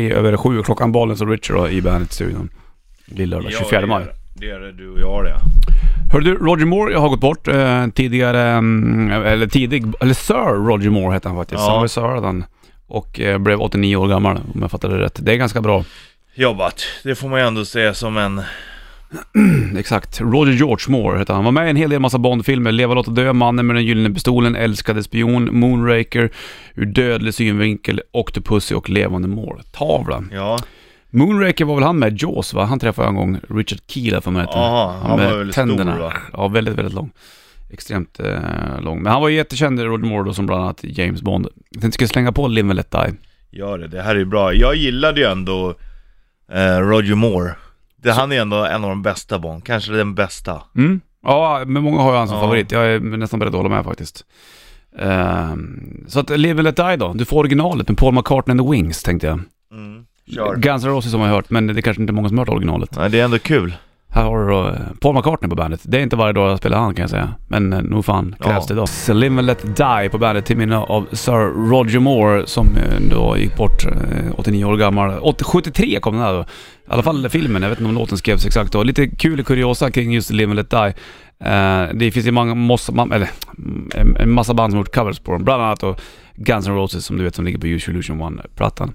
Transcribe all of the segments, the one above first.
Tre över sju, klockan bollen så Richard då i Bandit-studion. Lillördag, 24 maj. Ja, Det gör det, det gör det, du och jag det. Hörru du, Roger Moore har gått bort eh, tidigare, mm, eller tidig, eller Sir Roger Moore hette han faktiskt. Ja. Han var Sir redan. Och eh, blev 89 år gammal om jag fattade det rätt. Det är ganska bra. Jobbat, det får man ju ändå säga som en... Exakt. Roger George Moore hette han. var med i en hel del massa Bondfilmer. Leva, låta dö, Mannen med den gyllene pistolen, Älskade spion, Moonraker, Ur dödlig synvinkel, Octopussy och Levande mål. Tavla. Ja, Moonraker var väl han med Jaws va? Han träffade jag en gång Richard Keela för mig hette Aha, han var väl stor, va? Ja, väldigt, väldigt lång. Extremt eh, lång. Men han var ju jättekänd, Roger Moore då, som bland annat James Bond. Jag tänkte jag skulle slänga på Live and Let Die. gör det. Det här är ju bra. Jag gillade ju ändå eh, Roger Moore. Det, han är ändå en av de bästa Bond, kanske den bästa. Mm. Ja, men många har ju han som Ja. favorit. Jag är nästan beredd att hålla med faktiskt. Ehm, så att Live and Let Die då. Du får originalet med Paul McCartney and the Wings tänkte jag. Mm. Kör. Guns N' Roses har man hört, men det är kanske inte många som har hört originalet. Nej, det är ändå kul. Här har du då eh, Paul McCartney på bandet. Det är inte varje dag jag spelar han kan jag säga. Men eh, nog fan krävs Ja. det idag. Slim and Let Die på bandet till minne av Sir Roger Moore som eh, då gick bort eh, 89 år gammal. 80 73 kom den här då. I alla fall filmen, jag vet inte om låten skrevs exakt då. Lite kul kuriosa kring just Live and Let Die. Eh, det finns ju många, mossa, man, eller, mm, en, en massa band som har gjort covers på dem. Bland annat då Guns N' Roses som du vet som ligger på Use Your Illusion 1-plattan.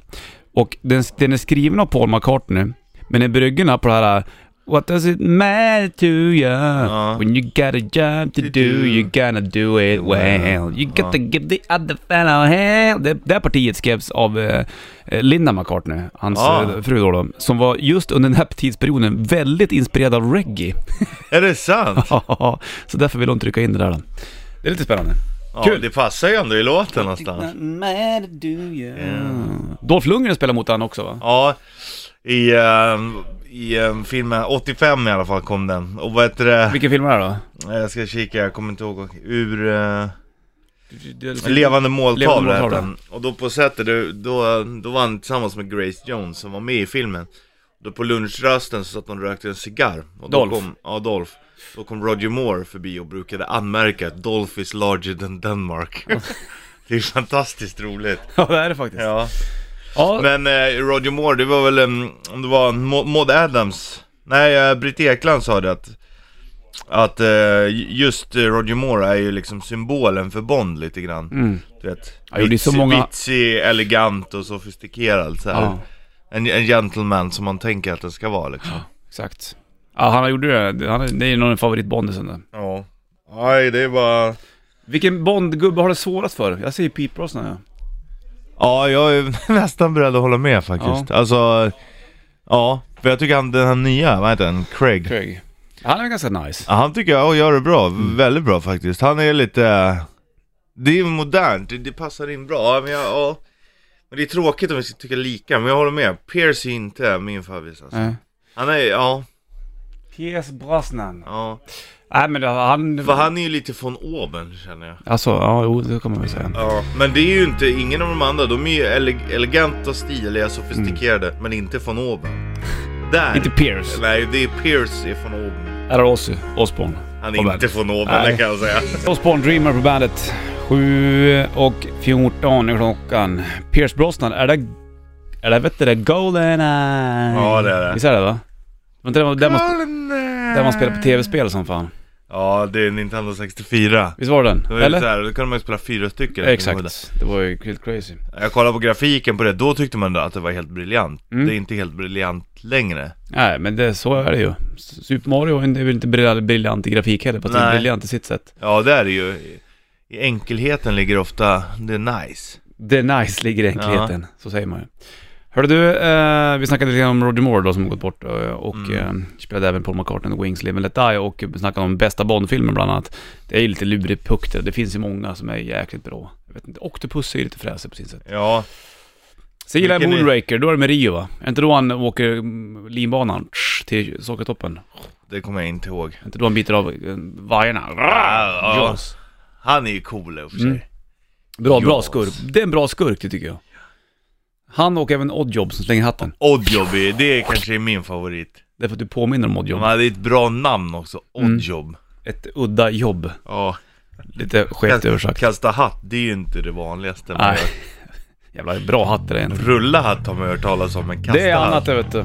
Och den, den är skriven av Paul McCartney, men är bryggen på det här What does it matter to you Ja. when you got a job to To do? do. You're gonna do it well. You got Ja. to give the other fellow hell. Det, det här partiet skrevs av eh, eh, Linda McCartney, hans Ja. eh, fru då, då, som var just under den här tidsperioden väldigt inspirerad av reggae. Är det sant? Så därför vill hon trycka in det där då. Det är lite spännande. Ja, Kul. Det passar ju ändå i låten någonstans. Dolph Lundgren spelar mot han också va? Ja, i, eh, i eh, filmen, 85 i alla fall kom den. Och vad heter det? Vilken film är det då? Jag ska kika, jag kommer inte ihåg. Ur... eh, Levande Typ. Levande måltavla måltavla. hette den. Och då på sättet, då, då, då var han tillsammans med Grace Jones som var med i filmen. Då på lunchrasten så satt de och rökte en cigarr. Och då Dolph. Kom, ja, Dolph. Då kom Roger Moore förbi och brukade anmärka att Dolph is larger than Denmark. det är fantastiskt roligt. Ja det är det faktiskt. Ja. Ja, Men eh, Roger Moore, det var väl, em, om det var Mo- Maud Adams? Nej, eh, Britt Ekland sa det att, att eh, just eh, Roger Moore är ju liksom symbolen för Bond lite grann. Mm. Du vet, Ja, jo, det är så många- vitsig, elegant och sofistikerad så här. Ja. En, en gentleman som man tänker att den ska vara liksom. exakt. Ja, han gjorde det. Han, det är ju någon favoritbondisen där. Ja. Nej, det är bara... Vilken Bondgubbe har det svårast för? Jag säger Pete Brosnan ja. Ja, jag är nästan beredd att hålla med faktiskt. Alltså, ja. För jag tycker han, den här nya, vad heter han? Craig. Craig. Mm. Han är väl ganska nice. Ja, han tycker jag gör det bra, väldigt bra faktiskt. Han är lite... Det är modernt, det, det passar in bra. Ja, Men, jag, ja. men det är tråkigt om vi ska tycka lika, men jag håller med. Pierce är inte min favorit alltså. Nej. Han är, ja, P.S. Brosnan. ja. Nej men det- han... För han är ju lite från oben känner jag. Alltså, ja jo det kommer man väl säga. Ja. Men det är ju inte, ingen av de andra, de är ju ele- eleganta, Mm. stiliga, sofistikerade, men inte från oben. Där! Inte Pierce. Nej, det är Pierce är från oben. Eller Ozzy Osbourne. Han Oben. är inte från oben, Nej. det kan jag säga. Osbourne Dreamer på bandet. 7 och 14 är klockan. Pierce Brosnan, är det... Är det vet du det? Goldeneye? Ja, det är det. Visst är det va? Var inte det var- där man, där man spelar på tv-spel som fan? Ja, det är Nintendo 64. Visst var det Det den? var ju så Eller? här, då kunde man ju spela fyra stycken. Exakt. Det var ju helt crazy. Jag kollade på grafiken på det, då tyckte man att det var helt briljant. Mm. Det är inte helt briljant längre. Nej, men det, så är det ju. Super Mario är väl inte briljant, briljant i grafik heller, fast det är Nej. briljant i sitt sätt. Ja, det är det ju. I enkelheten ligger ofta det nice. Det nice ligger i enkelheten, så säger man ju. Hörru du, eh, vi snackade lite grann om Roger Moore då som gått bort eh, och Mm. eh, spelade även Paul McCartney och Wings Live and Let Die och snackade om bästa Bond-filmen bland annat. Det är ju lite lurig puck det, det finns ju många som är jäkligt bra. Jag vet inte, Octopus är ju lite fräsig på sin sätt. Ja, Sen gillar jag Vilken är- Moonraker, då är det med Rio va? Är inte då han åker mm, linbanan tsch, till Sockertoppen? det kommer jag inte ihåg. Är inte då han biter av eh, vajerna? ja. Jaws. Han är ju cool i och för sig. Mm. Bra, bra Jaws. skurk. Det är en bra skurk det tycker jag. Han och även Oddjob som slänger hatten. Oddjob, det är kanske min favorit. Därför att du påminner om De Oddjob. hade ett bra namn också, Mm. Oddjob. Ett udda jobb. Ja, Lite skevt kasta, översatt. kasta hatt, det är ju inte det vanligaste. men Nej. Jävla bra hatt det är. ändå. Rulla hatt har man hört talas om, men kasta Det är annat det vet du.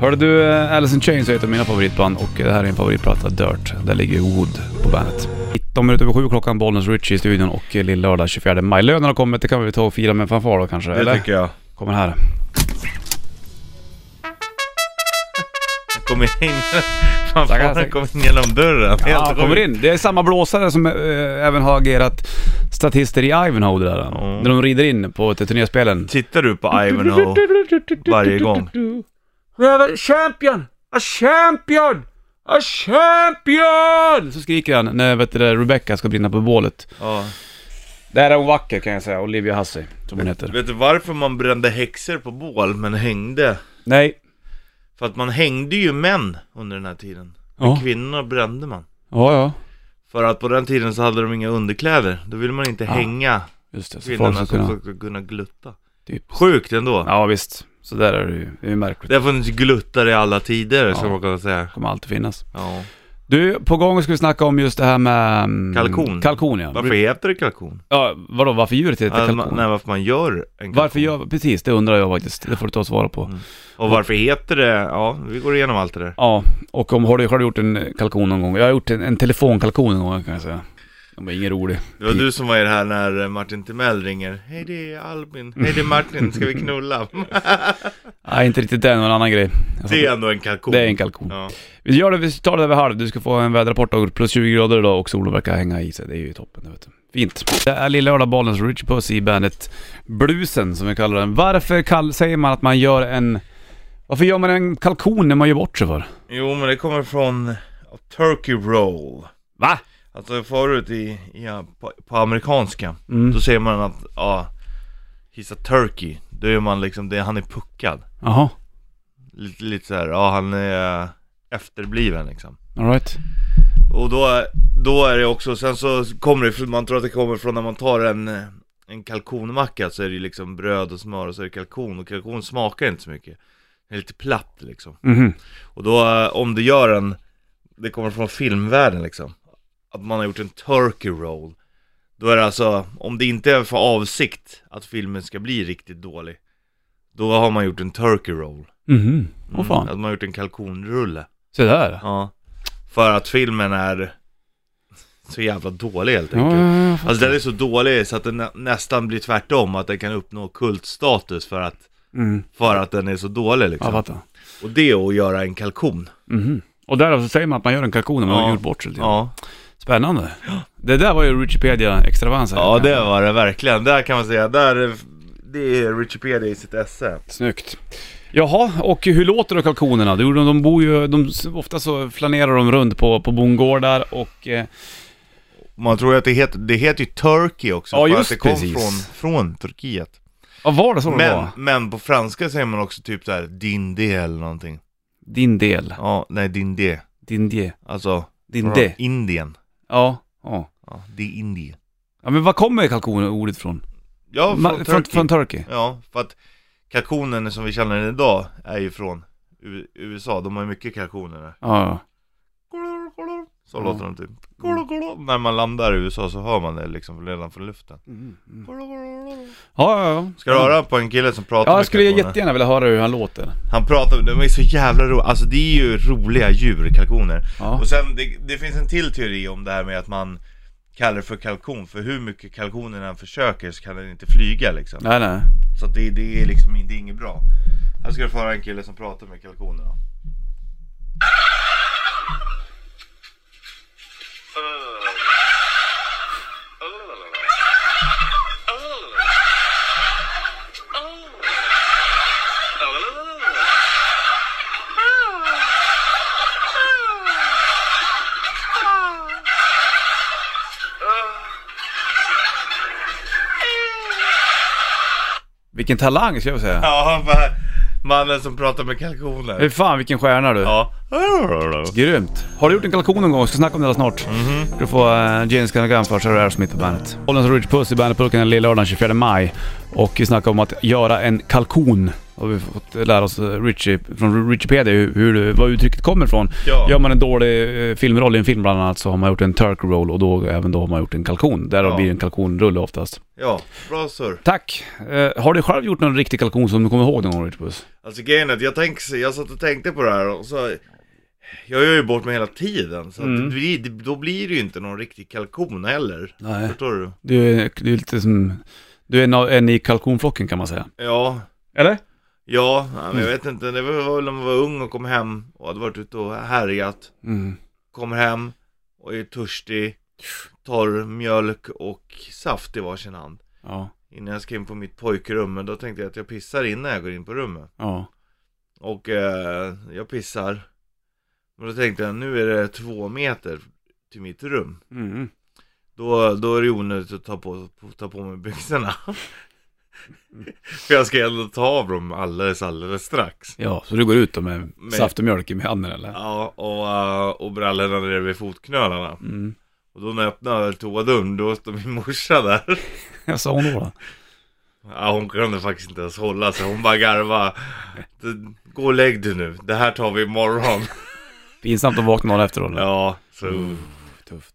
Hörde du, eh, Alice in Chains är ett av mina favoritband och eh, det här är en favoritplatta, Dirt. Där ligger Wood på bandet. 19 minuter över sju klockan, Bollnäs Richie i studion och eh, lill-lördag 24 maj. Lönen har kommit, det kan vi ta och fira med en fanfar då kanske, Det eller? tycker jag. Kommer här. Kom in. Fan, Tackar, fan, tack. kom in genom dörren. Ja, Helt Ah, kommer sjukt. in. Det är samma blåsare som eh, även har agerat statister i Ivanhoe det där. När de rider in på ett turnéspelen. Tittar du på Ivanhoe varje gång? Champion! A champion! A champion! Så skriker han när vet du, det, Rebecca ska brinna på bålet. Ja. Där är hon vacker kan jag säga, Olivia Hussey som hon heter. Vet du varför man brände häxor på bål men hängde? Nej. För att man hängde ju män under den här tiden. Ja, Kvinnorna brände man. ja, ja. För att på den tiden så hade de inga underkläder. Då ville man inte hänga just det. Så folk kvinnorna ska som kunna... skulle kunna glutta. Typ. Sjukt ändå. Ja, visst. Så där är det ju. Det är ju märkligt. Det har funnits gluttar i alla tider, skulle man kunna säga. Det kommer alltid finnas. Ja. Du, på gång ska vi snacka om just det här med... mm, Kalkon. Kalkon ja. Varför heter det kalkon? Ja, vadå varför djuret heter Alltså, kalkon? man, nej, varför man gör en kalkon. Varför gör, precis det undrar jag faktiskt. Det får du ta och svara på. Och varför heter det? Ja, vi går igenom allt det där. Ja, och om, har du själv gjort en kalkon någon gång? Jag har gjort en, en telefonkalkon någon gång kan jag säga. Den var ingen rolig. Det var du som var i det här när eh, Martin Timell ringer. Hej det är Albin. Hej det är Martin. Ska vi knulla? Nej, inte riktigt den, men en annan grej. Jag det är satt- ändå en kalkon. det är en kalkon. Ja. Vi gör det, vi tar det vid halv. Du ska få en väderrapport och plus 20 grader idag och solen verkar hänga i sig. Det är ju toppen, det vet du. Fint. Det är lilla lördag bollens Rich Puss i bandet Bluesen som vi kallar den. Varför kall- säger man att man gör en... Varför gör man en kalkon när man gör bort sig för? Jo, men det kommer från Turkey Roll. Va? Alltså förut i, i, på, på amerikanska, Mm. då säger man att ja, he's a turkey. Då är man liksom, det, han är puckad. Jaha, Lite, lite så här, ja han är efterbliven liksom. alright. Och då, då är det också, sen så kommer det, man tror att det kommer från när man tar en, en kalkonmacka så är det ju liksom bröd och smör och så är det kalkon och kalkon smakar inte så mycket. Det är lite platt liksom. Mhm. Och då, eh, om du gör en, det kommer från filmvärlden liksom. Att man har gjort en turkey roll. Då är det alltså, om det inte är för avsikt att filmen ska bli riktigt dålig. Då har man gjort en turkey roll. Mhm. Åh Mm, fan. Att man har gjort en kalkonrulle. Se där. Ja. För att filmen är så jävla dålig helt Ja, enkelt. ja, ja, Alltså den är så dålig så att den nä- nästan blir tvärtom, att den kan uppnå kultstatus för att, mm. för att den är så dålig liksom. Jag fattar. och det är att göra en kalkon. Mhm. Och därav så säger man att man gör en kalkon när man Ja. har gjort bort sig lite. Ja. Spännande. Det där var ju Wikipedia extravans här. ja, det var det verkligen. Där kan man säga, där, är- det är Wikipedia i sitt esse. Snyggt. Jaha, och hur låter då kalkonerna? De, de, de bor ju, de, ofta så flanerar de runt på, på bondgårdar och... Eh, Man tror ju att det heter, det heter ju Turkey också, Ja, för just att det kom precis. från, från Turkiet. vad var det så det Men, var? men på franska säger man också typ såhär, din de eller någonting. Din del. Ja, nej din de. Din de. Alltså, Din från de. Indien. Ja. Ja. Ja, det är Indien. Ja men var kommer kalkonordet ifrån? Ja, Ma- från från, Turkey. från Turkey? Ja, för att kalkonen som vi känner den idag är ju från U- USA. De har ju mycket kalkoner där. Ja, ja. Så Ja. låter de typ. När man landar i USA så hör man det liksom redan från luften. Mm, Ja, ja, ja. Ska du höra på en kille som pratar Ja, med jag skulle kalkoner? jättegärna vilja höra hur han låter. Han pratar, de är så jävla roliga. Alltså det är ju roliga djur, kalkoner. Ja. Och sen, det, det finns en till teori om det här med att man kallar det för kalkon. För hur mycket kalkonen än försöker så kan den inte flyga liksom. Nej, nej. Så att det, det är liksom in- det är inget bra. Här ska du få höra en kille som pratar med kalkonerna. Vilken talang ska jag säga. Ja, bara, mannen som pratar med Fy kalkoner. fan vilken stjärna du. Ja. Grymt! Har du gjort en kalkon någon gång? Jag ska snacka om det här snart. Mhm. Du får uh, James Canagan först, här är Aerosmith på bandet. Bollens Rich Puss i bandet Pulken den lilla lördagen 24 maj. Och vi snackar om att göra en kalkon har vi fått lära oss eh, Richie, från Richiepedia hur, hur, vad uttrycket kommer ifrån. Ja. Gör man en dålig eh, filmroll i en film bland annat så har man gjort en turk roll och då även då har man gjort en kalkon. Därav Ja. blir det en kalkonrulle oftast. ja, bra surr. Tack! Eh, har du själv gjort någon riktig kalkon som du kommer ihåg någon gång Richbus? Alltså grejen är att jag, tänk, jag satt och tänkte på det här och så Jag gör ju bort mig hela tiden så Mm. att det blir, det, då blir det ju inte någon riktig kalkon heller Nej. Förstår du? Du är, du är lite som... Du är en, av- en i kalkonflocken kan man säga. Ja, Eller? ja, nej, men jag vet inte Det var väl när man var ung och kom hem och hade varit ute och härjat Mm. Kommer hem och är törstig Tar mjölk och saft i varsin hand Ja. Innan jag ska in på mitt pojkrum men då tänkte jag att jag pissar innan jag går in på rummet Ja. Och eh, jag pissar. Men då tänkte jag, nu är det två meter till mitt rum. Mm. Då, då är det onödigt att ta på, ta på mig byxorna. För jag ska ändå ta av dem alldeles, alldeles strax. Ja, så du går ut då med Men- saft och mjölk i handen eller? Ja, och, eh, och brallorna nere vid fotknölarna. Mm. Och då när jag öppnade toadörren, då stod min morsa där. Jag sa hon då? då? Ja, hon kunde faktiskt inte ens hålla sig. Hon bara garvade. "Du, Gå och lägg dig nu. Det här tar vi imorgon. Pinsamt att vakna dagen efter då. eller? Ja, så... Tufft.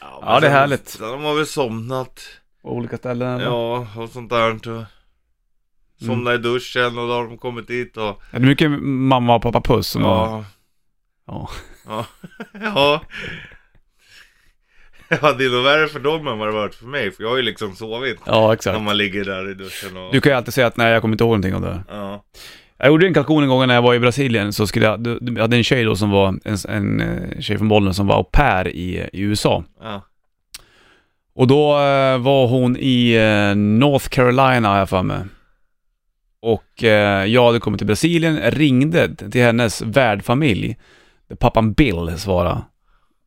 Ja, Ja, men det är sen- härligt. Sen har man väl somnat. På olika ställen eller? Ja, och sånt där. tror jag. Mm. Somnat i duschen och då har de kommit dit och... Är det mycket mamma och pappa puss som har... Ja. Ja. Ja. ja. Ja, det är nog värre för dem än vad det varit för mig. För jag har ju liksom sovit Ja, när exakt. man ligger där i duschen och... Du kan ju alltid säga att nej, jag kommer inte ihåg någonting om det. här. Ja. Jag gjorde en kalkon en gång när jag var i Brasilien, så skulle jag, du- du- jag hade en tjej då som var, en, en eh, tjej från Bollnäs som var au pair i, i USA. Ja. Och då eh, var hon i eh, North Carolina har jag för mig. Och eh, jag hade kommit till Brasilien, ringde till hennes värdfamilj, där pappan Bill svarade.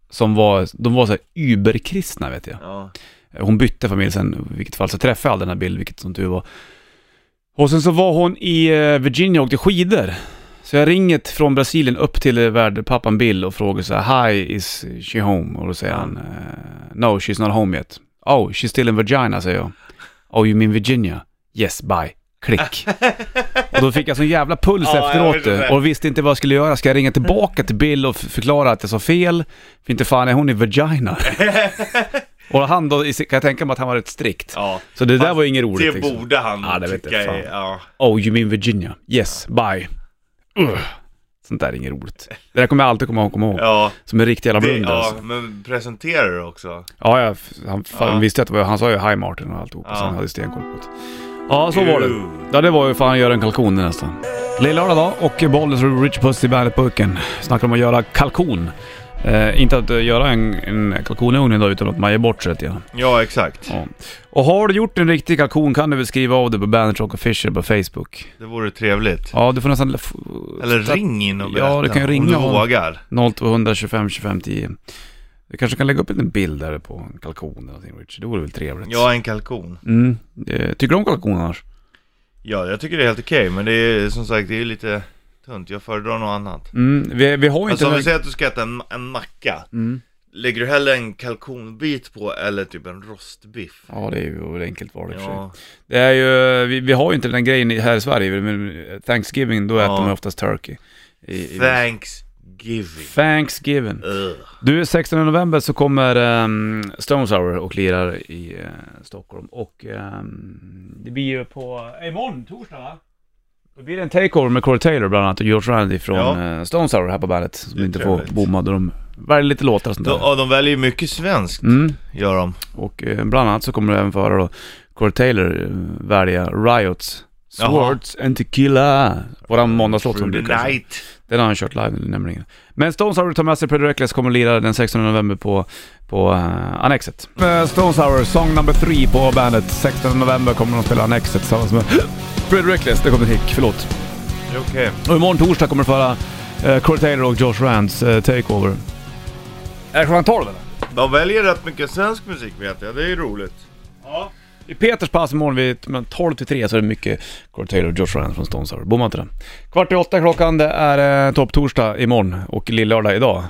Som var, de var så här überkristna vet jag. Ja. Eh, Hon bytte familj sen, i vilket fall, så träffade jag aldrig den här Bill, vilket som tur var. Och sen så var hon i eh, Virginia och åkte skidor. Så jag ringet från Brasilien upp till eh, värdpappan Bill och frågar så här, Hi, is she home? Och då säger han, eh, No, she's not home yet. Oh, she's still in Virginia, säger jag. Oh, you mean Virginia? Yes, bye. Klick. Och då fick jag sån jävla puls Ja, jag efteråt förstår det. du, och visste inte vad jag skulle göra. Ska jag ringa tillbaka till Bill och f- förklara att jag sa fel? För inte fan är hon i Virginia. Och han då, i sin- kan jag tänka mig att han var rätt strikt. ja. Så det där Fast var ju inget roligt liksom. Det borde han Ja, det vet tycka jag är- fan. ja. Oh, you mean Virginia? Yes, bye. Ugh. Sånt där är inget roligt. Det där kommer jag alltid komma, komma ihåg. Ja. Som en riktig jävla Det, blunder. alltså. ja, men presentera det också. Ja, jag, han fan, Ja. visste att det var, han sa ju Hi Martin och alltihop, Ja. så han hade stenkoll på det. Ja, så var det. Ew. Ja, det var ju fan göra en kalkon det nästan. Lill-lördag då och Bollnäs och Rich Puss i Bandet-burken. Snackar om att göra kalkon. Eh, inte att eh, göra en, en kalkon i ugnen då, utan att man ger bort sig lite grann. Ja, exakt. Ja. Och har du gjort en riktig kalkon kan du väl skriva av det på Bandet Rock Official på Facebook. Det vore trevligt. Ja, du får nästan... f- Eller sätta- ring in och Ja, berätta. du kan ju Om ringa du och- vågar. 0200 25 25 10. Du kanske kan lägga upp en liten bild där på en kalkon eller någonting Rich. Det vore väl trevligt. Ja, en kalkon. Mm. Eh, Tycker du om kalkon annars? Ja, jag tycker det är helt okej, men det är som sagt, det är lite tunt. Jag föredrar något annat. Mm. Vi, vi har ju inte... Alltså om några- vi säger att du ska äta en, en macka, mm. lägger du hellre en kalkonbit på eller typ en rostbiff? Ja, det är ju ett enkelt val i och för sig. Ja, Det är ju, vi, vi har ju inte den grejen i- här i Sverige, men Thanksgiving då äter Ja. man oftast turkey. I, i Thanksgiving. Thanksgiving. Ugh. Du, 16 november så kommer um, Stones Hour och lirar i eh, Stockholm. Och ehm, det blir ju på, eh, imorgon, torsdag va? Då blir det en takeover med Corey Taylor bland annat och George Randy från Ja. eh, Stones Hour här på bandet. Som Det är inte får trevligt. bomma då de väljer lite låtar och sånt De, där. ja, de väljer ju mycket svenskt, Mm. gör de. Och eh, bland annat så kommer du även få höra då Corey Taylor eh, välja Riots, Jaha. Swords and Tequila. Våran måndagslåt som Through blir the kanske. night. Den har han kört live nämligen. Men Stones Hour tar med sig Pretty Reckless kommer att lira den 16 november på, på eh, Annexet. Eh, Stones Hour, song number three på bandet. 16 november kommer de att spela Annexet tillsammans med Pretty Reckless. Det kommer en hick, förlåt. Det är Okej. Och imorgon torsdag kommer du få höra eh, Corey Taylor och Josh Rands eh, Takeover. Är det klockan 12 eller? De väljer rätt mycket svensk musik vet jag, det är ju roligt. Ja. I Peters pass imorgon vid mellan 12 till 3 så är det mycket Corey Taylor och Josh Ryan från Stones Hour. Bomma inte den. Kvart i åtta klockan, det är eh, topptorsdag imorgon och lillördag idag.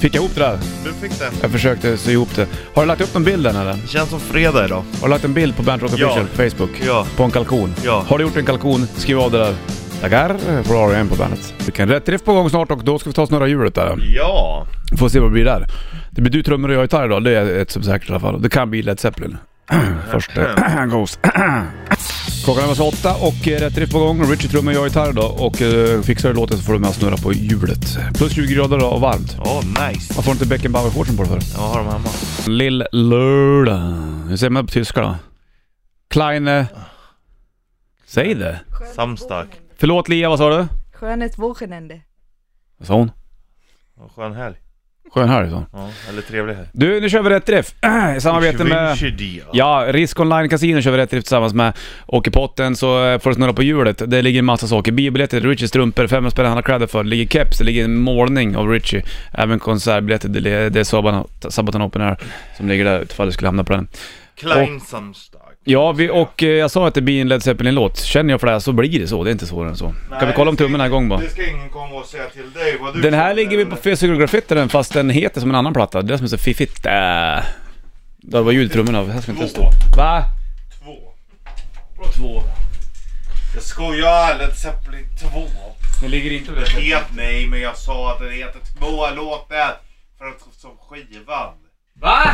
Fick jag ihop det där? Du fick det. Jag försökte sy ihop det. Har du lagt upp någon bild än eller? Det känns som fredag idag. Har du lagt en bild på Bernt Rock Ja. Official på Facebook? Ja. På en kalkon? Ja. Har du gjort en kalkon, skriv av det där. Tackar för ARM på bandet. Vilken rätt träff på gång snart och då ska vi ta snurra hjulet där. Ja. Får se vad det blir där. Det blir du trummor och jag gitarr idag, det är ett som säkert i alla fall. Det kan bli Led Zeppelin. Först eh, Ghost. Klockan är alltså åtta och eh, rätt drift på gång. Richie trummor, jag gitarr idag och eh, fixar du låten så får du med och snurra på hjulet. Plus 20 grader idag och varmt. Åh, nice. Varför har du inte Beckenbauer-shortsen på dig för? Jag har dem hemma. Lill Lördag. Hur säger man på tyska då? Kleine... Säg det. Samstark. Förlåt Lia, vad sa du? Skönhet Wochenende. Vad sa hon? Och Skön helg. Skön helg sa hon. Ja, eller trevlig helg. Du, nu kör vi rätt drift. I samarbete med... Ja. Ja, Risk Online Casino kör vi rätt drift tillsammans med. Och i potten så eh, får du snurra på hjulet. Det ligger en massa saker. Biobiljetter, Richies strumpor, 500 spänn han har credit för. Det ligger keps, det ligger en målning av Richie. Även konsertbiljetter, det li- det är Saban- Sabaton Open Air som ligger där utifall du skulle hamna på den. Klein Samstark. Ja, vi, och eh, jag sa att det blir en Led Zeppelin-låt. Känner jag för det här så blir det så. Det är inte svårare än så. kan vi kolla om tummen är igång bara? Det ska ingen komma och säga till dig vad du Den här känner, ligger vi på eller? Physical Graffiti fast den heter som en annan platta. Det är det som är så fiffigt. Äh. Där var ljudtrummorna. Här ska inte stå. Va? Två. Bra två. Jag skojar, Led Zeppelin 2. Den ligger inte på Jag vet nej, men jag sa att den heter två låtar för att som skivan. Va?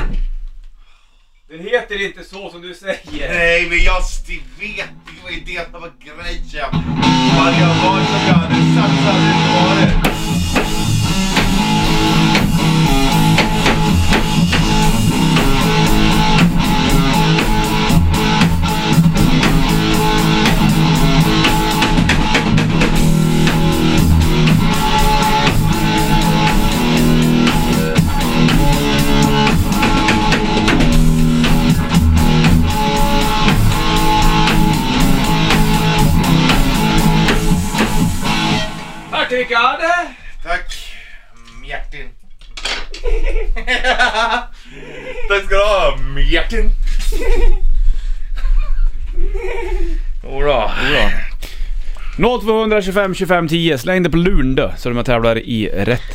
Den heter inte så som du säger. Nej, men jag st- vet, det var ju det som var grejen. Hade jag varit som jag hade sagt så hade det inte varit. Vart tycker jag det? Tack, Mjärtin. Tack ska du ha, Mjärtin. Jodå. Mm. 0225 25 10. Släng det på luren då, så de här tävlar i rätt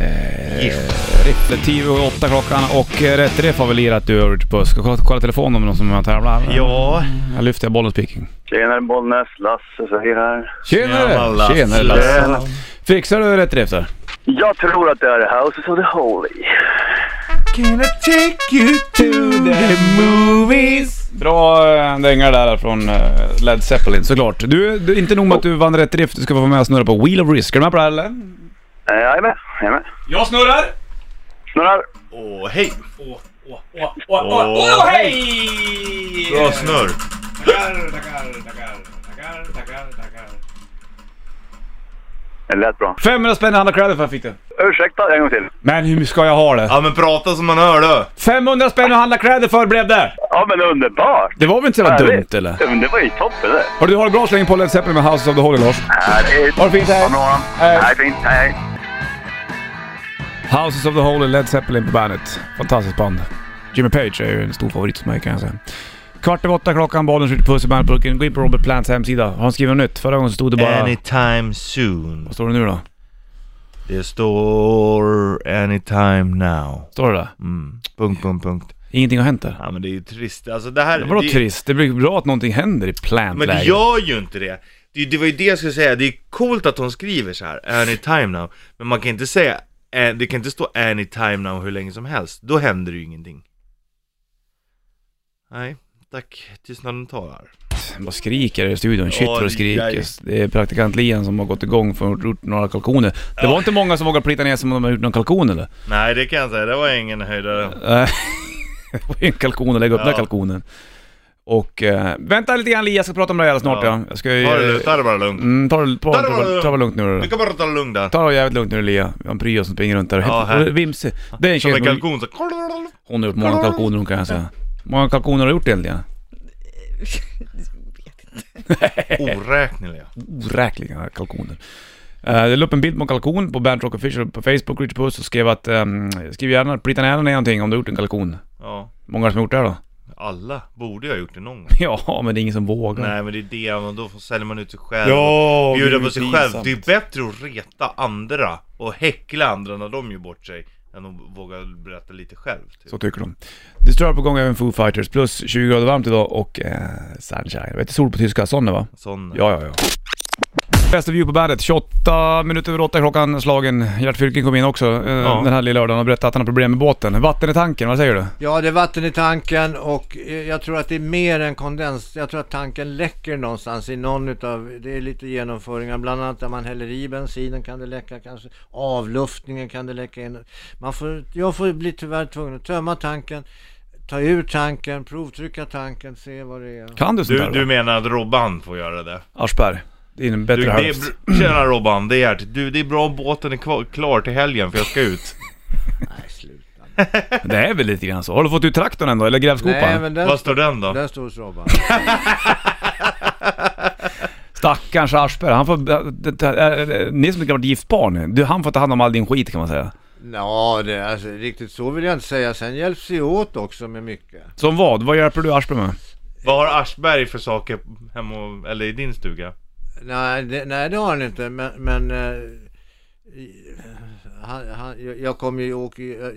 eh, riff. Det är 10 och 8 klockan och eh, rätt riff har vi lirat du Ulrich Busk. Ska kolla- kolla telefonen om någon som är med och tävlar? Ja. Jag lyfter bollen speaking. Tjenare Bollnäs, Lasse säger här. Tjenare! Lasse. Tjenare Lasse! Fixar du rätt drift där? Jag tror att det är Houses of the Holy. Can I take you to the movies? Bra eh, dängar där från eh, Led Zeppelin såklart. Du, du, inte nog med att Oh. du vann rätt drift, du ska få vara med och snurra på Wheel of Risk. Är du med på det här eller? Eh, Jag är med, jag är med. Jag snurrar! Snurrar. Åh, hej. Åh, åh, åh, åh, åh, åh, hej! Bra snurr. Tackar, tackar, tackar, tackar, tackar, tackar. Det lät bra. 500 spänn i Hanna Credit för fick du. Ursäkta en gång till. Men hur ska jag ha det? Ja men prata som man hör du. 500 spänn och handla kläder för blev det! Ja men underbart! Det var väl inte så jävla dumt Härligt. eller? Ja, men Det var ju toppen det. Har du har det bra släng på Led Zeppelin med House of the Holy Lars. Härligt. Ha det fint, hej. Ha det bra. Hej. Hej, fint. Hej. Houses of the Holy, Led Zeppelin på bandet. Fantastiskt band. Jimmy Page är ju en stor favorit för mig kan jag säga. Kvart över åtta klockan, bollen skjuter puss i bandburken. Gå in på Robert Plants hemsida. Har han skrivit något nytt? Förra gången så stod det bara... Anytime soon. Vad står det nu då? Det står anytime now. Står det där? Mm. Punkt, punkt, punkt. Ingenting har hänt där. Ja men det är ju trist. Alltså det här... Vadå det, trist? Det blir bra att någonting händer i Men det Plant-läget. gör ju inte det. det. Det var ju det jag skulle säga, det är coolt att hon skriver så här, anytime now. Men man kan inte säga, eh, det kan inte stå anytime now hur länge som helst. Då händer det ju ingenting. Nej, tack. Tystnaden talar. Bara skriker i studion. Shit vad Oj, det aj. skriker. Det är praktikant Lian som har gått igång för att ha gjort några kalkoner. Det var inte många som vågade plita ner sig om de har gjort någon kalkon eller? Nej, det kan jag säga, det var ingen höjdare. Eh, det var ju en kalkon att lägga upp Ja. den här kalkonen. Och eh, vänta lite grann Li, jag ska prata om det här alldeles snart ja. Ja. Jag ska ju... Ta det lugnt, ta det bara lugnt. Mm, ta det, ta, Ta ta, det bara ta, lugnt. det lugnt nu Du då. kan bara ta det lugnt där. Ta det jävligt lugnt nu Lia. Vi har en pryo som springer runt där. Ja, här. Vimse. Det är en Som tjej som... en kalkon så... Hon har gjort många kalkoner hon kan jag säga. Hur många kalkoner har du gjort egentligen? Oräkneliga. oräkneliga kalkoner. Uh, jag la upp en bild på en kalkon på Bandrock Official på Facebook, ehm, Richard Puss, och skrev att um, skriv gärna, plita gärna ner någonting om du har gjort en kalkon. Ja. Många som har gjort det här då? alla borde ju ha gjort det någon gång. Ja, men det är ingen som vågar. Nej men det är det, och då får- säljer man ut sig själv. Mm. Ja, och bjuder på sig själv. pinsamt. Det är bättre att reta andra och häckla andra när de gör bort sig. Än att våga berätta lite själv. Typ. Så tycker de. Disturbed på gång även Foo Fighters, plus 20 grader varmt idag och eh, sunshine. Vet du sol på tyska? Sonne va? Sån... Ja, ja, ja. Bästa view på bandet, 28 minuter över 8 klockan slagen. Gert Fylking kom in också eh, Ja. den här lilla lördagen och berättade att han har problem med båten. Vatten i tanken, vad säger du? Ja, det är vatten i tanken och eh, jag tror att det är mer än kondens. Jag tror att tanken läcker någonstans i någon utav, det är lite genomföringar, bland annat när man häller i bensinen kan det läcka kanske, avluftningen kan det läcka in. Man får, jag får bli tyvärr tvungen att tömma tanken, ta ur tanken, provtrycka tanken, se vad det är. Kan du sånt Du, där? du Du... menar att Robban får göra det? Aschberg, din Du, bättre det är, hälft. br- tjena Robban, det är Gert. Du, det är bra om båten är kvar, klar till helgen för jag ska ut. Nej, sluta. Det är väl lite grann så. Har du fått ut traktorn ändå, eller grävskopan? Nej, men den, Vad står den då? den står hos Robban. Stackars Aschberg, han får... det- det- eh, Ni som inte har varit gift par nu, du, han får ta hand om all din skit kan man säga. Ja, det, alltså, riktigt så vill jag inte säga. Sen hjälps vi åt också med mycket. Som vad? Vad hjälper du Aschberg med? Vad har Aschberg för saker hemma, och- eller i din stuga? Nej, det, nej, det har han inte. Men, men eh, i- han, han, jag- jag kommer ju, jag åker, ju- jag,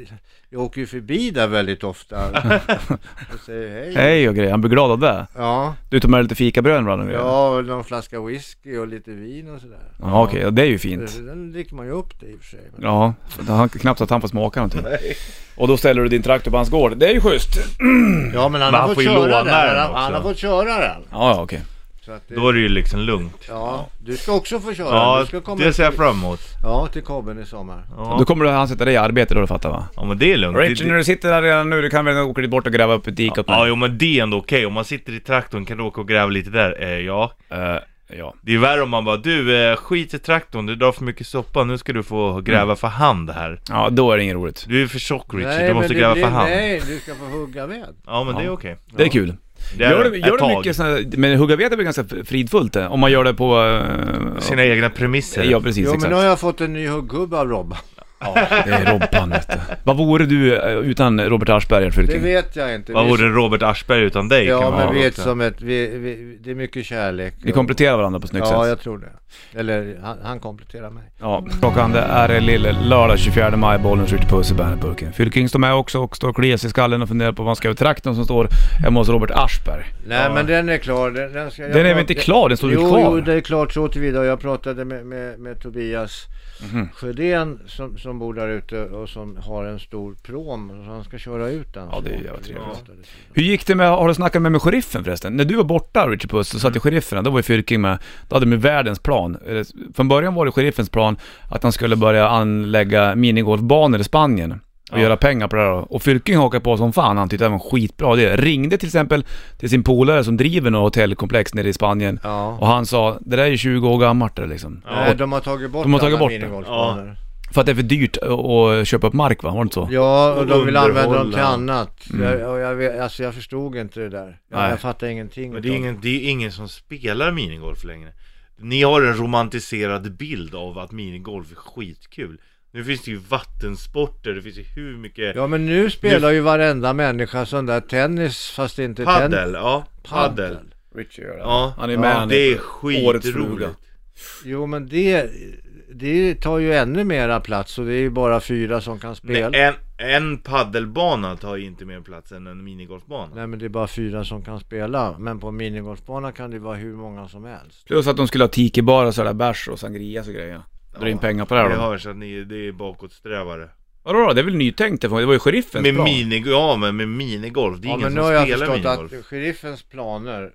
jag åker ju förbi där väldigt ofta. och säger hej. Hej och grejer, han blir glad av det. Ja, Du tar med lite fikabröd ibland och grejer? ja, och någon flaska whisky och lite vin och sådär. Ja, okej, det är ju fint. Det- Den dricker man ju upp det i och för sig. Mm. Men, Ja, han, knappt att han får smaka någonting. Och då ställer du din traktor på hans gård. Det är ju schysst. ja, men han Men har han fått får ju låna köra den. den Han, också. han har fått köra den. Ja, ja, okej. Så att det, Då är det ju liksom lugnt. ja, du ska också få köra den. Ja, Du ska komma det ser jag till- fram emot. Ja, till kobben i sommar. Då Ja, kommer du, han sätta dig i arbete då, du fattar va? ja men det är lugnt. Det- Richard, när du sitter där redan nu, du kan väl åka dit bort och gräva upp ett dike åt Ja, mig? jo, men det är ändå okej. Om man sitter i traktorn kan du åka och gräva lite där. Eh, ja. Eh, ja. Det är värre om man bara du, eh, skit i traktorn, du drar för mycket soppa, nu ska du få gräva Mm. för hand här. Ja, då är det inget roligt. Du är för tjock Richard, du men måste det gräva blir- för hand. Nej, du ska få hugga ved. Ja men det är okej. Det är kul. Det är gör du, ett gör du tag. mycket sådana men hugga ved är väl ganska fridfullt det? Om man gör det på... eh, Sina egna premisser. ja, precis. Jo, men exakt. nu har jag fått en ny huggubbe av Robban. Det är Robban vet du. Vad vore du eh, utan Robert Aschberger för Det någonting? vet jag inte. Vad Vi- vore Robert Aschberg utan dig? kan Ja, man men fråga vi är ett också. som ett... Vi, vi, det är mycket kärlek. Ni kompletterar varandra på ett snyggt Ja, sätt. jag tror det. Eller han, han kompletterar mig. Ja, klockan det är lille lördag 24 maj, bollen skjuter puss i Bandyburken. Fylking står med också och står och kliar sig i skallen och funderar på vad man ska göra i traktorn som står hemma hos Robert Aschberg. Nej, men den är klar. Den, den, ska, jag Den är väl prat- inte klar? Den står ju jo, kvar. Jo, det är klart så tillvida. Jag pratade med, med, med Tobias Mhm. Sjödén som, som bor där ute och som har en stor prom. Så han ska köra ut den. Ja, det är Så jävligt vi trevligt. pratade. Hur gick det med, har du snackat med, med sheriffen förresten? När du var borta Richard Puss, så Mm. satt ju sheriffen, då var ju Fylking med, då hade de ju världens plan. Eh, Från början var det sheriffens plan att han skulle börja anlägga minigolfbanor i Spanien och göra pengar på det här. Och Fylking hakade på som fan, han tyckte det var en skitbra idé. Ringde till exempel till sin polare som driver något hotellkomplex nere i Spanien Ja. och han sa, det där är ju 20 år gammalt det liksom. Nej, de har tagit bort De har tagit alla bort det. minigolfbanor. För att det är för dyrt att köpa upp mark va? Var det inte så? Ja, och de vill använda dem Underhålla. till annat. Jag, och jag, vet, alltså, jag förstod inte det där. Mm. Nej. Jag, jag fattar ingenting. Men det är, utav ingen, det är ingen som spelar minigolf längre. Ni har en romantiserad bild av att minigolf är skitkul. Nu finns det ju vattensporter, det finns ju hur mycket... Ja men nu spelar ju varenda människa sån där tennis fast det inte tennis. Paddel, ja. Paddel. Richard Ja, Han är med, han är det är årets fruga. skitroligt. Jo men det, det tar ju ännu mera plats och det är ju bara fyra som kan Nej, spela. Nej, en, en paddelbana tar ju inte mer plats än en minigolfbana. men det är bara fyra som kan spela. Men på en minigolfbana kan det vara hur många som helst. Plus att de skulle ha tikibar och sådär bärs och sangrias och grejer. Dra in pengar på det här Det då. hörs att ni det är bakåtsträvare. Vadå då? Det är väl nytänkt det var ju sheriffens Med plan. mini, ja, men med minigolf, det är Ja ingen men nu som har jag spelar förstått minigolf. att sheriffens planer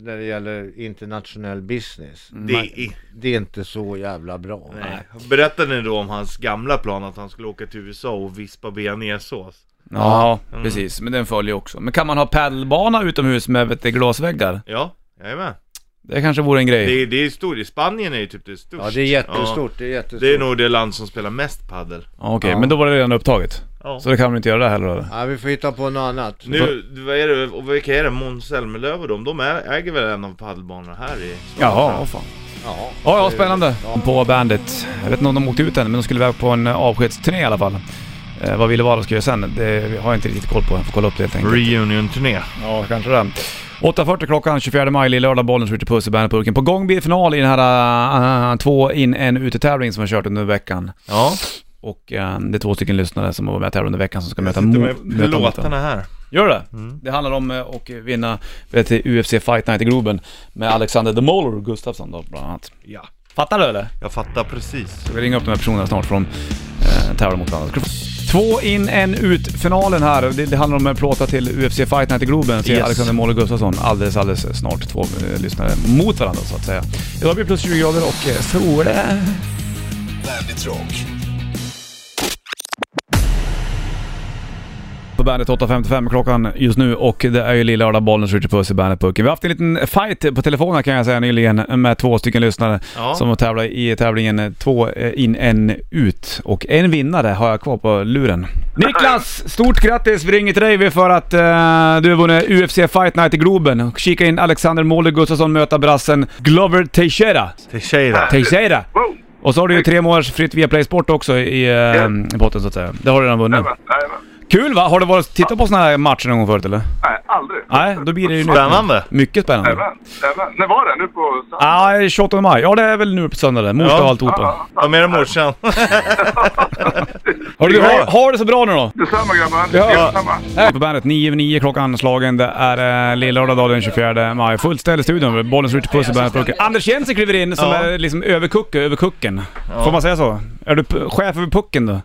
när det gäller internationell business, Det är, det är inte så jävla bra. nej. Berättade ni då om hans gamla plan att han skulle åka till USA och vispa bearnaisesås? Ja, Mm. Mm. precis. Men den följer också. Men kan man ha padelbana utomhus med vet, du, glasväggar? Ja, jag är med. Det kanske vore en grej. Det, är- det är stort, i Spanien är ju typ det största. Ja det är jättestort, det är jättestort. det är nog det land som spelar mest paddel. Ja, Okej, Ja. men då var det redan upptaget. Ja. Så det kan man inte göra det heller eller? Ja vi får hitta på något annat. Nu, vad är det, och vilka är det? Måns Zelmerlöw och de, de är- äger väl en av padelbanorna här i Jaha, fan. Ja. Ja, ja, spännande. På bandet. Jag vet inte om de åkte ut än, men de skulle iväg på en eh, avskedsturné i alla fall. Eh, vad Ville Wahlöö ska göra sen, det har jag inte riktigt koll på. Jag får kolla upp det helt enkelt. Reunion-turné. Ja, kanske det. 8.40 klockan 24 maj, Lill-lördag, bollen skjuter puss i Bandypurken. På gång blir final i den här äh, två in en utetävling som vi har kört under veckan. Ja, Och eh, det är två stycken lyssnare som var med och tävlade under veckan som ska jag möta sitter mo- Mm, med möta mot dem. låtarna Mm. här. Gör det? Det handlar om eh, att vinna vet, till UFC Fight Night i Globen med Alexander The Mauler Gustafsson då bland annat. Ja. Fattar du eller? Jag fattar precis. Ska vi ringa upp de här personerna snart för de eh, tävlar mot varandra. Ska vi- Två in, en ut-finalen här. Det, det handlar om en plåta till UFC Fight Night i Globen. Ser Yes. Alexander Måle Gustafsson alldeles, alldeles snart. Två eh, lyssnare mot varandra så att säga. Idag blir det plus 20 grader och eh, sol. Bandit Rock. På bandet 8.55 klockan just nu och det är ju lilla lördag bollen skjuter puss i bandet Pucken. Vi har haft en liten fight på telefonen kan jag säga nyligen med två stycken lyssnare Ja. som tävlar i tävlingen eh, två eh, in, en ut. Och en vinnare har jag kvar på luren. Niklas! Stort grattis! Vi ringer till dig för att eh, du har vunnit UFC Fight Night i Globen. Och Kika in Alexander Måle Gustafsson möta brassen Glover Teixeira. Teixeira. Teixeira! Wow! Och så har du ju tre månaders fritt Viaplay Sport också i, eh, i potten så att säga. Det har du redan vunnit. Jajamän, jajamän. Kul va? Har du varit tittat på såna här matcher någon gång förut eller? Nej, aldrig. Nej, då blir det ju nytt. Spännande. Mycket spännande. Jajamän, jajamän. När var det? Nu på söndag? Ja, 28 maj. Ja, det är väl nu på söndag det. Mot Ja. och alltihopa. Vad menar morsan? Har du, har, har det så bra nu då! Detsamma grabbar. Ja. Detsamma. Här på bandet 9 över 9 klockan slagen. Det är eh, lillördag dag den 24 maj. Fullt ställ i studion. Bollen skjuter puss i bandet Anders Jensen kliver in som Ja. är liksom överkucke över kucken. Får man säga så? Är du p- chef över pucken då?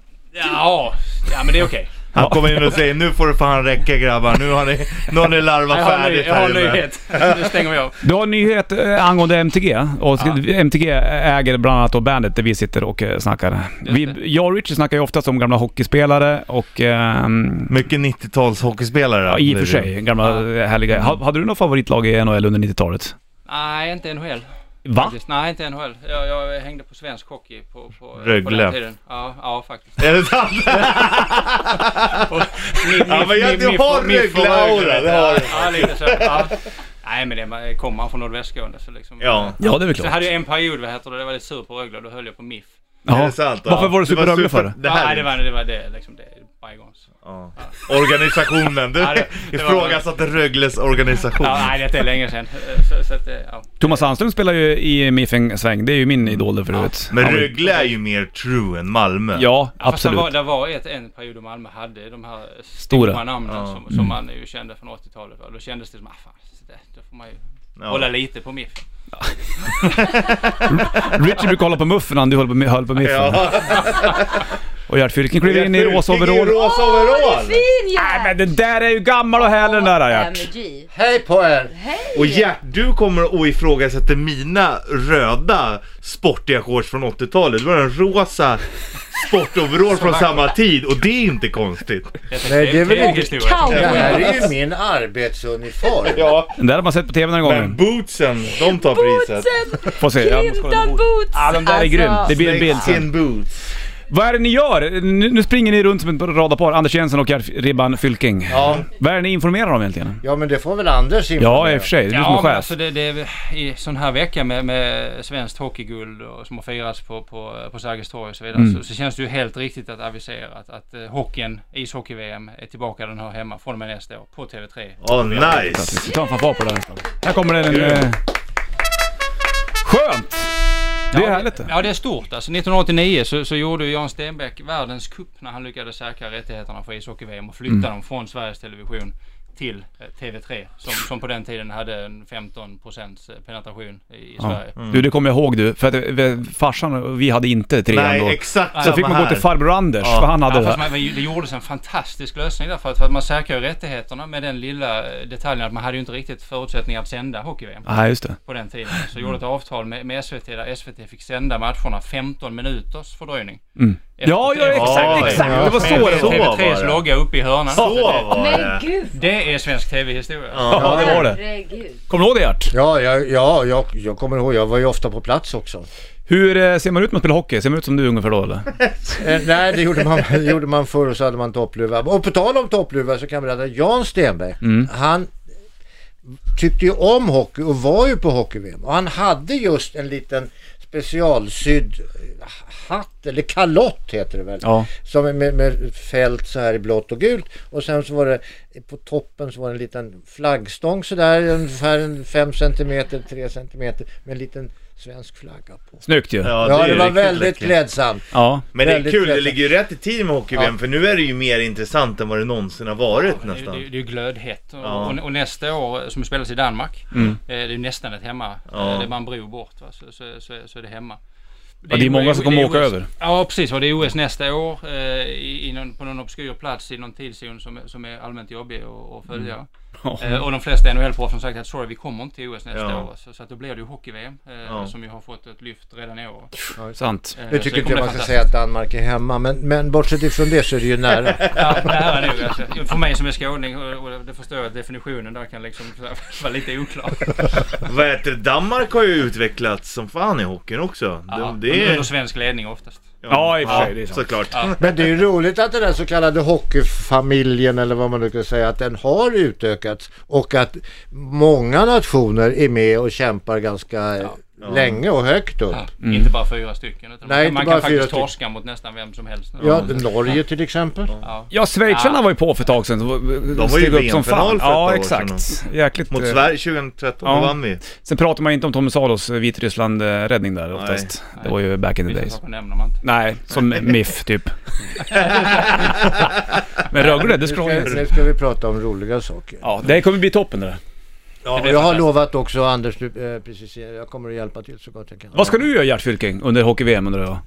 Ja, ja men det är okej. Han kommer in och säger nu får det fan räcka grabbar, nu har ni, nu har ni larvat Jag har, en ny, färdigt jag har här en inne. nyhet. Nu stänger vi av. Du har en nyhet eh, angående MTG. Och ska- MTG äger bland annat då bandet där vi sitter och eh, snackar. Vi, jag och Richie snackar ju oftast om gamla hockeyspelare och... ehm, Mycket 90-tals hockeyspelare. Ja, i och för sig. Gamla eh, härliga. Ha- Hade du något favoritlag i NHL under 90-talet? Nej, inte NHL. Va? Faktiskt. Nej, inte NHL. Jag, jag hängde på svensk hockey på, på, på Rögle. den tiden. Ja, ja faktiskt. Är det sant? Ja, men jag- du har Rögle-aura, det har du. du. Ja, lite så. Ja. Nej, men det man- kommer man från nordvästskåne så liksom. Ja. Ja, det är väl Så hade jag en period, vad heter det, det var lite sur på Rögle och då höll jag på MIF. Är Ja. det sant? Ja. Varför var du Det superrögle för? super- Det ja, nej, här det var det, var det liksom. Det, bygons. ja. Organisationen. Du Ja, det- det var- ifrågasatte Rögles organisation. Ja, nej, det är länge sedan. Eh, Så, så att, eh, ja. Thomas Sandström spelar ju i MIF en sväng. Det är ju min idol där förut. Men Han var ju- Rögle är ju mer true än Malmö. Ja, Fast det var, absolut. det var ett, en period då Malmö hade de här Stora. stora namnen som, som man ju kände från 80-talet. va. Då kändes det som, ah fan, så där, då får man ju Ja. hålla lite på MIF. Richie brukar hålla på muffen han, du höll på, höll på miffen. Ja. Och Gert Fylking kliver in i rosa overall. Åh, Råsoverall! du är fin Nej Gert! men den där är ju gammal och härlig den där Gert. MG. Hej på er! Hej! Och Gert, du kommer att ifrågasätta mina röda sportiga shorts från 80-talet. Du har en rosa sportoverall från samma tid och det är inte konstigt. Nej, det är väl inte- historia. Kaos. Det här är alltså. ju min arbetsuniform. Ja, Den där har man sett på TV några men gånger. bootsen, de tar priset. Bootsen! Får se. Jag måste kolla den. Clinton Boots! Ja, de där är grymt. Det blir en bild sen. Snakeskin boots. Vad är det ni gör? Nu, nu springer ni runt som ett radarpar, Anders Jensen och Gert Ribban Fylking. Ja. Vad är det ni informerar om egentligen? ja, men det får väl Anders Ja, informera. i och för sig. Det är du som Ja, är men chef. alltså det, det är i sån här vecka med, med svenskt hockeyguld och, som har firats på, på, på Sergels torg och så vidare. Så, så känns det ju helt riktigt att avisera att, att eh, hockeyn, ishockey-VM, är tillbaka den här hemma från och med nästa år på TV3. Åh, nice! Vi tar en fanfar på det här. Här kommer den. Eh... Skönt! Det är härligt det. Ja, det är stort. Alltså, 1989 så, så gjorde ju Jan Stenbeck världens cup när han lyckades säkra rättigheterna för ishockey-VM och Mm. flytta dem från Sveriges Television till eh, TV3 som, som på den tiden hade en 15 penetration i, i Sverige. Mm. Du, det kommer jag ihåg du. För att eh, farsan och vi hade inte trean då. Nej, exakt Så fick man gå till farbror Anders, för han hade Ja, det. fast här. man, det gjordes en fantastisk lösning där för att, för att man säkrar ju rättigheterna med den lilla eh, detaljen att man hade ju inte riktigt förutsättningar att sända hockey-VM. Nej, just det. på den tiden. Så gjorde ett avtal med, med SVT där SVT fick sända matcherna 15 minuters fördröjning. Efter- Mm. Ja, ja, Ja, exakt, exakt. ja. Det var så det Så var. var det. TV3s logga uppe i hörnan. Så det, var Men det! gud! det är svensk TV-historia. Ja, det var det. Herregud. Kommer du ihåg det Gert? Ja, ja, ja jag, jag kommer ihåg. Jag var ju ofta på plats också. Hur eh, ser man ut när man spelar hockey? Ser man ut som du ungefär då eller? Eh, nej, det gjorde man, det gjorde man förr och så hade man toppluva. Och på tal om toppluva så kan jag berätta, Jan Stenbeck, Mm. han tyckte ju om hockey och var ju på hockey-VM. Och han hade just en liten specialsydd eh, hatt, eller kalott heter det väl? Ja. Som är med, med fält så här i blått och gult. Och sen så var det på toppen så var det en liten flaggstång sådär ungefär en 5 centimeter, 3 centimeter med en liten svensk flagga på. Snyggt ju. Ja. Ja, är det, var riktigt väldigt läckert. klädsamt. Men det är väldigt kul, det klädsamt. ligger ju rätt i tiden med hockey-VM Ja. för nu är det ju mer intressant än vad det någonsin har varit men det, nästan. det, det är ju glödhett. Och, Ja. och, och nästa år, som spelas i Danmark, eh, det är ju nästan ett hemma. Ja. Eh, Det är bara en bro bort, va? Så, så, så, så är det hemma. det är många som kommer det är åka OS. över. Ja, precis. Och det är OS nästa år eh, i, i någon, på någon obskyr plats i någon tidszon som, är- som är allmänt jobbig att- att följa. Eh, och de flesta NHL-proffs har sagt att sorry, vi kommer inte till OS nästa Ja. år. Så, så att då blir det ju hockey-VM eh, Ja. som ju har fått ett lyft redan i år. Sant. Eh, Nu så det tycker inte jag man kommer bli ska fantastiskt. säga att Danmark är hemma, men, men bortsett ifrån det så är det ju nära. Ja, nära nog. Alltså. För mig som är skåning, och, och det förstår jag att definitionen där kan liksom så här vara lite oklar. Vad heter det? Danmark har ju utvecklats som fan i hockeyn också. Ja, De, det är... Under svensk ledning oftast. Ja, i och för sig, det är sant. Såklart. Men det är ju roligt att den där så kallade hockeyfamiljen eller vad man nu kan säga, att den har utökats och att många nationer är med och kämpar ganska länge och högt upp. Ja, Inte bara fyra stycken. Utan Nej, inte man bara kan faktiskt fyra stycken. torska mot nästan vem som helst. nu. Ja, Norge till exempel. Ja. Ja, schweizarna var ju på för ett tag sedan. De ju steg i upp som VM-final fan. för ett Ja, år exakt. Jäkligt. Mot eh, Sverige 2013, Ja. då vann vi. Sen pratar man ju inte om Tommy Salos eh, Vitryssland-räddning där oftast. Det var ju back in the Vissa days. saker nämner man inte. Nej, som MIF typ. Men Rögle, det Nu ska, skulle jag nu ska vi prata om roliga saker. Ja, det kommer bli toppen det där. Ja, och jag har lovat också Anders, du, eh, precis, jag kommer att hjälpa till så gott jag kan. Vad ska du göra Gert Fylking under hockey-VM undrar jag?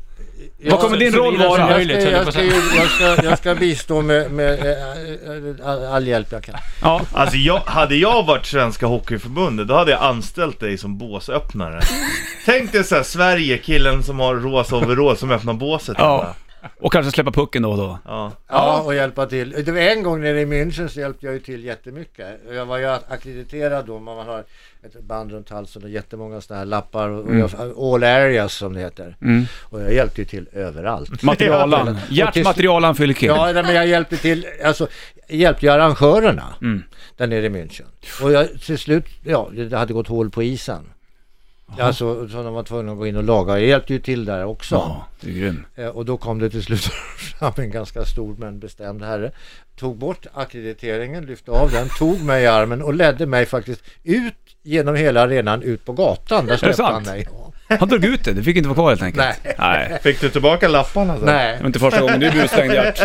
Jag- Vad kommer din så roll vidare som vara? möjligt. Jag ska, höll jag på jag, att ska, ju- säga. jag, ska, jag ska bistå med, med eh, all, all hjälp jag kan. Ja, Alltså jag, hade jag varit Svenska Hockeyförbundet, då hade jag anställt dig som båsöppnare. Tänk dig såhär, Sverige, killen som har rosa overall som öppnar båset. ja. Och kanske släppa pucken då och då. Ja. Ja, och hjälpa till. Det var en gång nere i München så hjälpte jag ju till jättemycket. Jag var ju ackrediterad då, man har ett band runt halsen och jättemånga sådana här lappar. Och och jag, all areas som det heter. Mm. Och jag hjälpte ju till överallt. Materialan. Och till- Gert Materialan Fylking. Ja, nej, men jag hjälpte till, alltså jag hjälpte ju arrangörerna Mm. där nere i München. Och jag, till slut, ja, det hade gått hål på isen. Alltså, så de var tvungna att gå in och laga. Jag hjälpte ju till där också. Ja, du är grym. Eh, Och då kom det till slut fram en ganska stor men bestämd herre. Tog bort ackrediteringen, lyfte av den, tog mig i armen och ledde mig faktiskt ut genom hela arenan ut på gatan. Där släppte han sant? mig. Ja. Han drog ut det, det fick inte vara kvar helt enkelt. Nej. Nej. Fick du tillbaka lapparna sen? Det Nej, var inte första gången du blev utstängd Gert.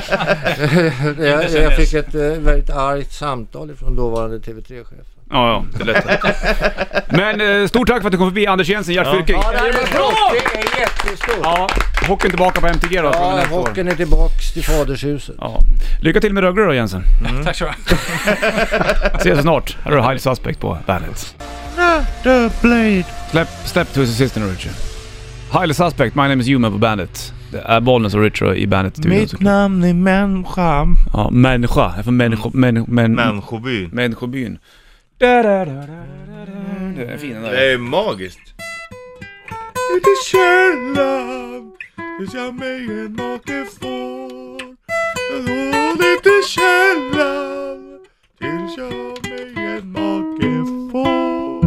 jag, jag fick ett eh, väldigt argt samtal från dåvarande TV3-chefen. Ja, ja, det är lätt. Men eh, stort tack för att du kom förbi Anders Jensen, Gert Fylking. Ja, det här är stort. Det är jättestort. Ja, Ja, hockeyn tillbaka på MTG då från nästa år. hockeyn är tillbaks till fadershuset. Ja. Lycka till med Rögle då Jensen. Mm. Tack så mycket. Ses snart. Här har du High Suspect på bandet. The Blade. Släpp, släpp Twisted Sister nu Richard. Highly Suspect, My Name Is Human på bandet. Det är Bollnäs och Richard i bandet studion Mitt såklart. namn är människa. Ja, människa. Jag är från människo, män, män, Människoby. människobyn. Da, da, da, da, da, da. Det är en fin den Det där. är magiskt. Ute i källaren tills jag mig en make får. Råd ut i källaren tills jag mig en make får.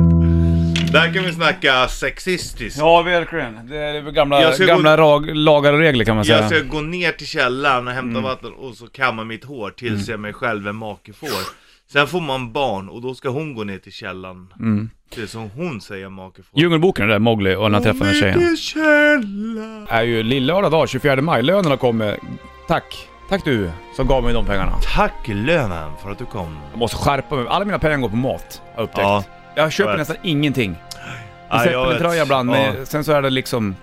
Där kan vi snacka sexistiskt. Ja, verkligen. Det är gamla, Jag ska gå- gamla rag, lagar och regler kan man säga. Jag ska gå ner till källaren och hämta vatten och så kamma mitt hår tills jag mig själv en make får. Sen får man barn och då ska hon gå ner till källaren. Tills hon säger make får. Djungelboken där, Mowgli och när han träffar den här Mm. tjejen. tjejen. är ju lillördag dag, 24 maj. Lönerna kommer. Tack. Tack du som gav mig de pengarna. Tack lönen för att du kom. Jag måste skärpa mig. Alla mina pengar går på mat, har jag upptäckt. Ja. Jag köper jag vet. nästan ingenting. Jag Ja, jag sätter en vet. tröja ibland, men Ja. sen så är det liksom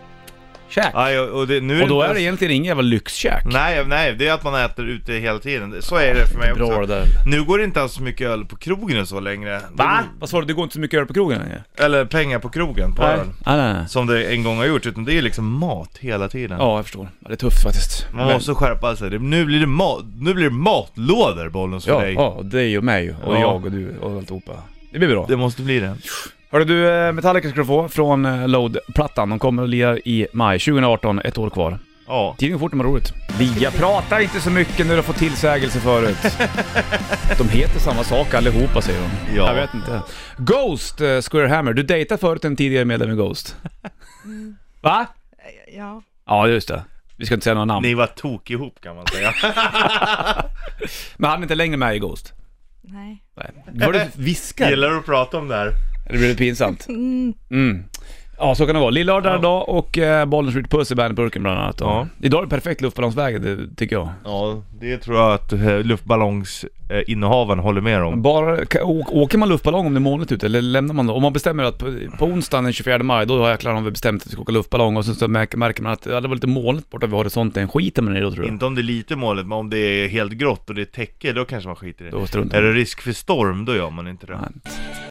käk. Ja, jag- och, det, nu Och då är inte det ens- egentligen ingen jävla lyxkäk. Nej, nej, det är att man äter ute hela tiden. Så är det för mig Bra det också. där. Nu går det inte alls så mycket öl på krogen och så längre. Va? Vad sa du? Det går inte så mycket öl på krogen längre? Eller pengar på krogen på öl. Nej, nej, nej. Som det en gång har gjort, utan det är liksom mat hela tiden. Ja, jag förstår. Ja, det är tufft faktiskt. Man Men- måste skärpa sig. Det- Nu blir det, mat, nu blir det matlådor, Bollnäs, för Ja, dig. ja, och dig och mig och Ja. jag och du och alltihopa. Det blir bra. Det måste bli det. Hörru du, eh, Metallica ska du få från eh, Load-plattan. De kommer att lira i maj 2018, ett år kvar. Ja. Tiden går fort när man har roligt. Lia, prata inte så mycket när du får tillsägelse förut. De heter samma sak allihopa säger de. Ja. Jag Mm. vet inte. Ghost, eh, Square Hammer. Du dejtade förut en tidigare medlem i Ghost. Va? Ja. Ja, just det. Vi ska inte säga några namn. Ni var tok ihop kan man säga. Men han är inte längre med i Ghost. Nej. Nej. Var det viskar? Gillar du att prata om det här? Det blir pinsamt. Mm. Ja, så kan det vara. Lill-lördag idag och eh, Bollnäs Ritchie Puss i bandetburken bland annat. Ja. Idag är det perfekt luftballongsväder, det tycker jag. Ja, det tror jag att eh, luftballongsinnehavaren håller med om. Bara, ka- å- åker man luftballong om det är molnigt ute eller lämnar man då? Om man bestämmer att på, på onsdagen den 24 maj, då har jäklar om vi bestämt att vi ska åka luftballong och sen så märker, märker man att ja, det var lite molnigt borta vid horisonten. Skiter man i det då tror jag. Inte om det är lite målet, men om det är helt grått och det är täcke, då kanske man skiter i det. Då struntar Är man det risk för storm, då gör man inte det. Nej.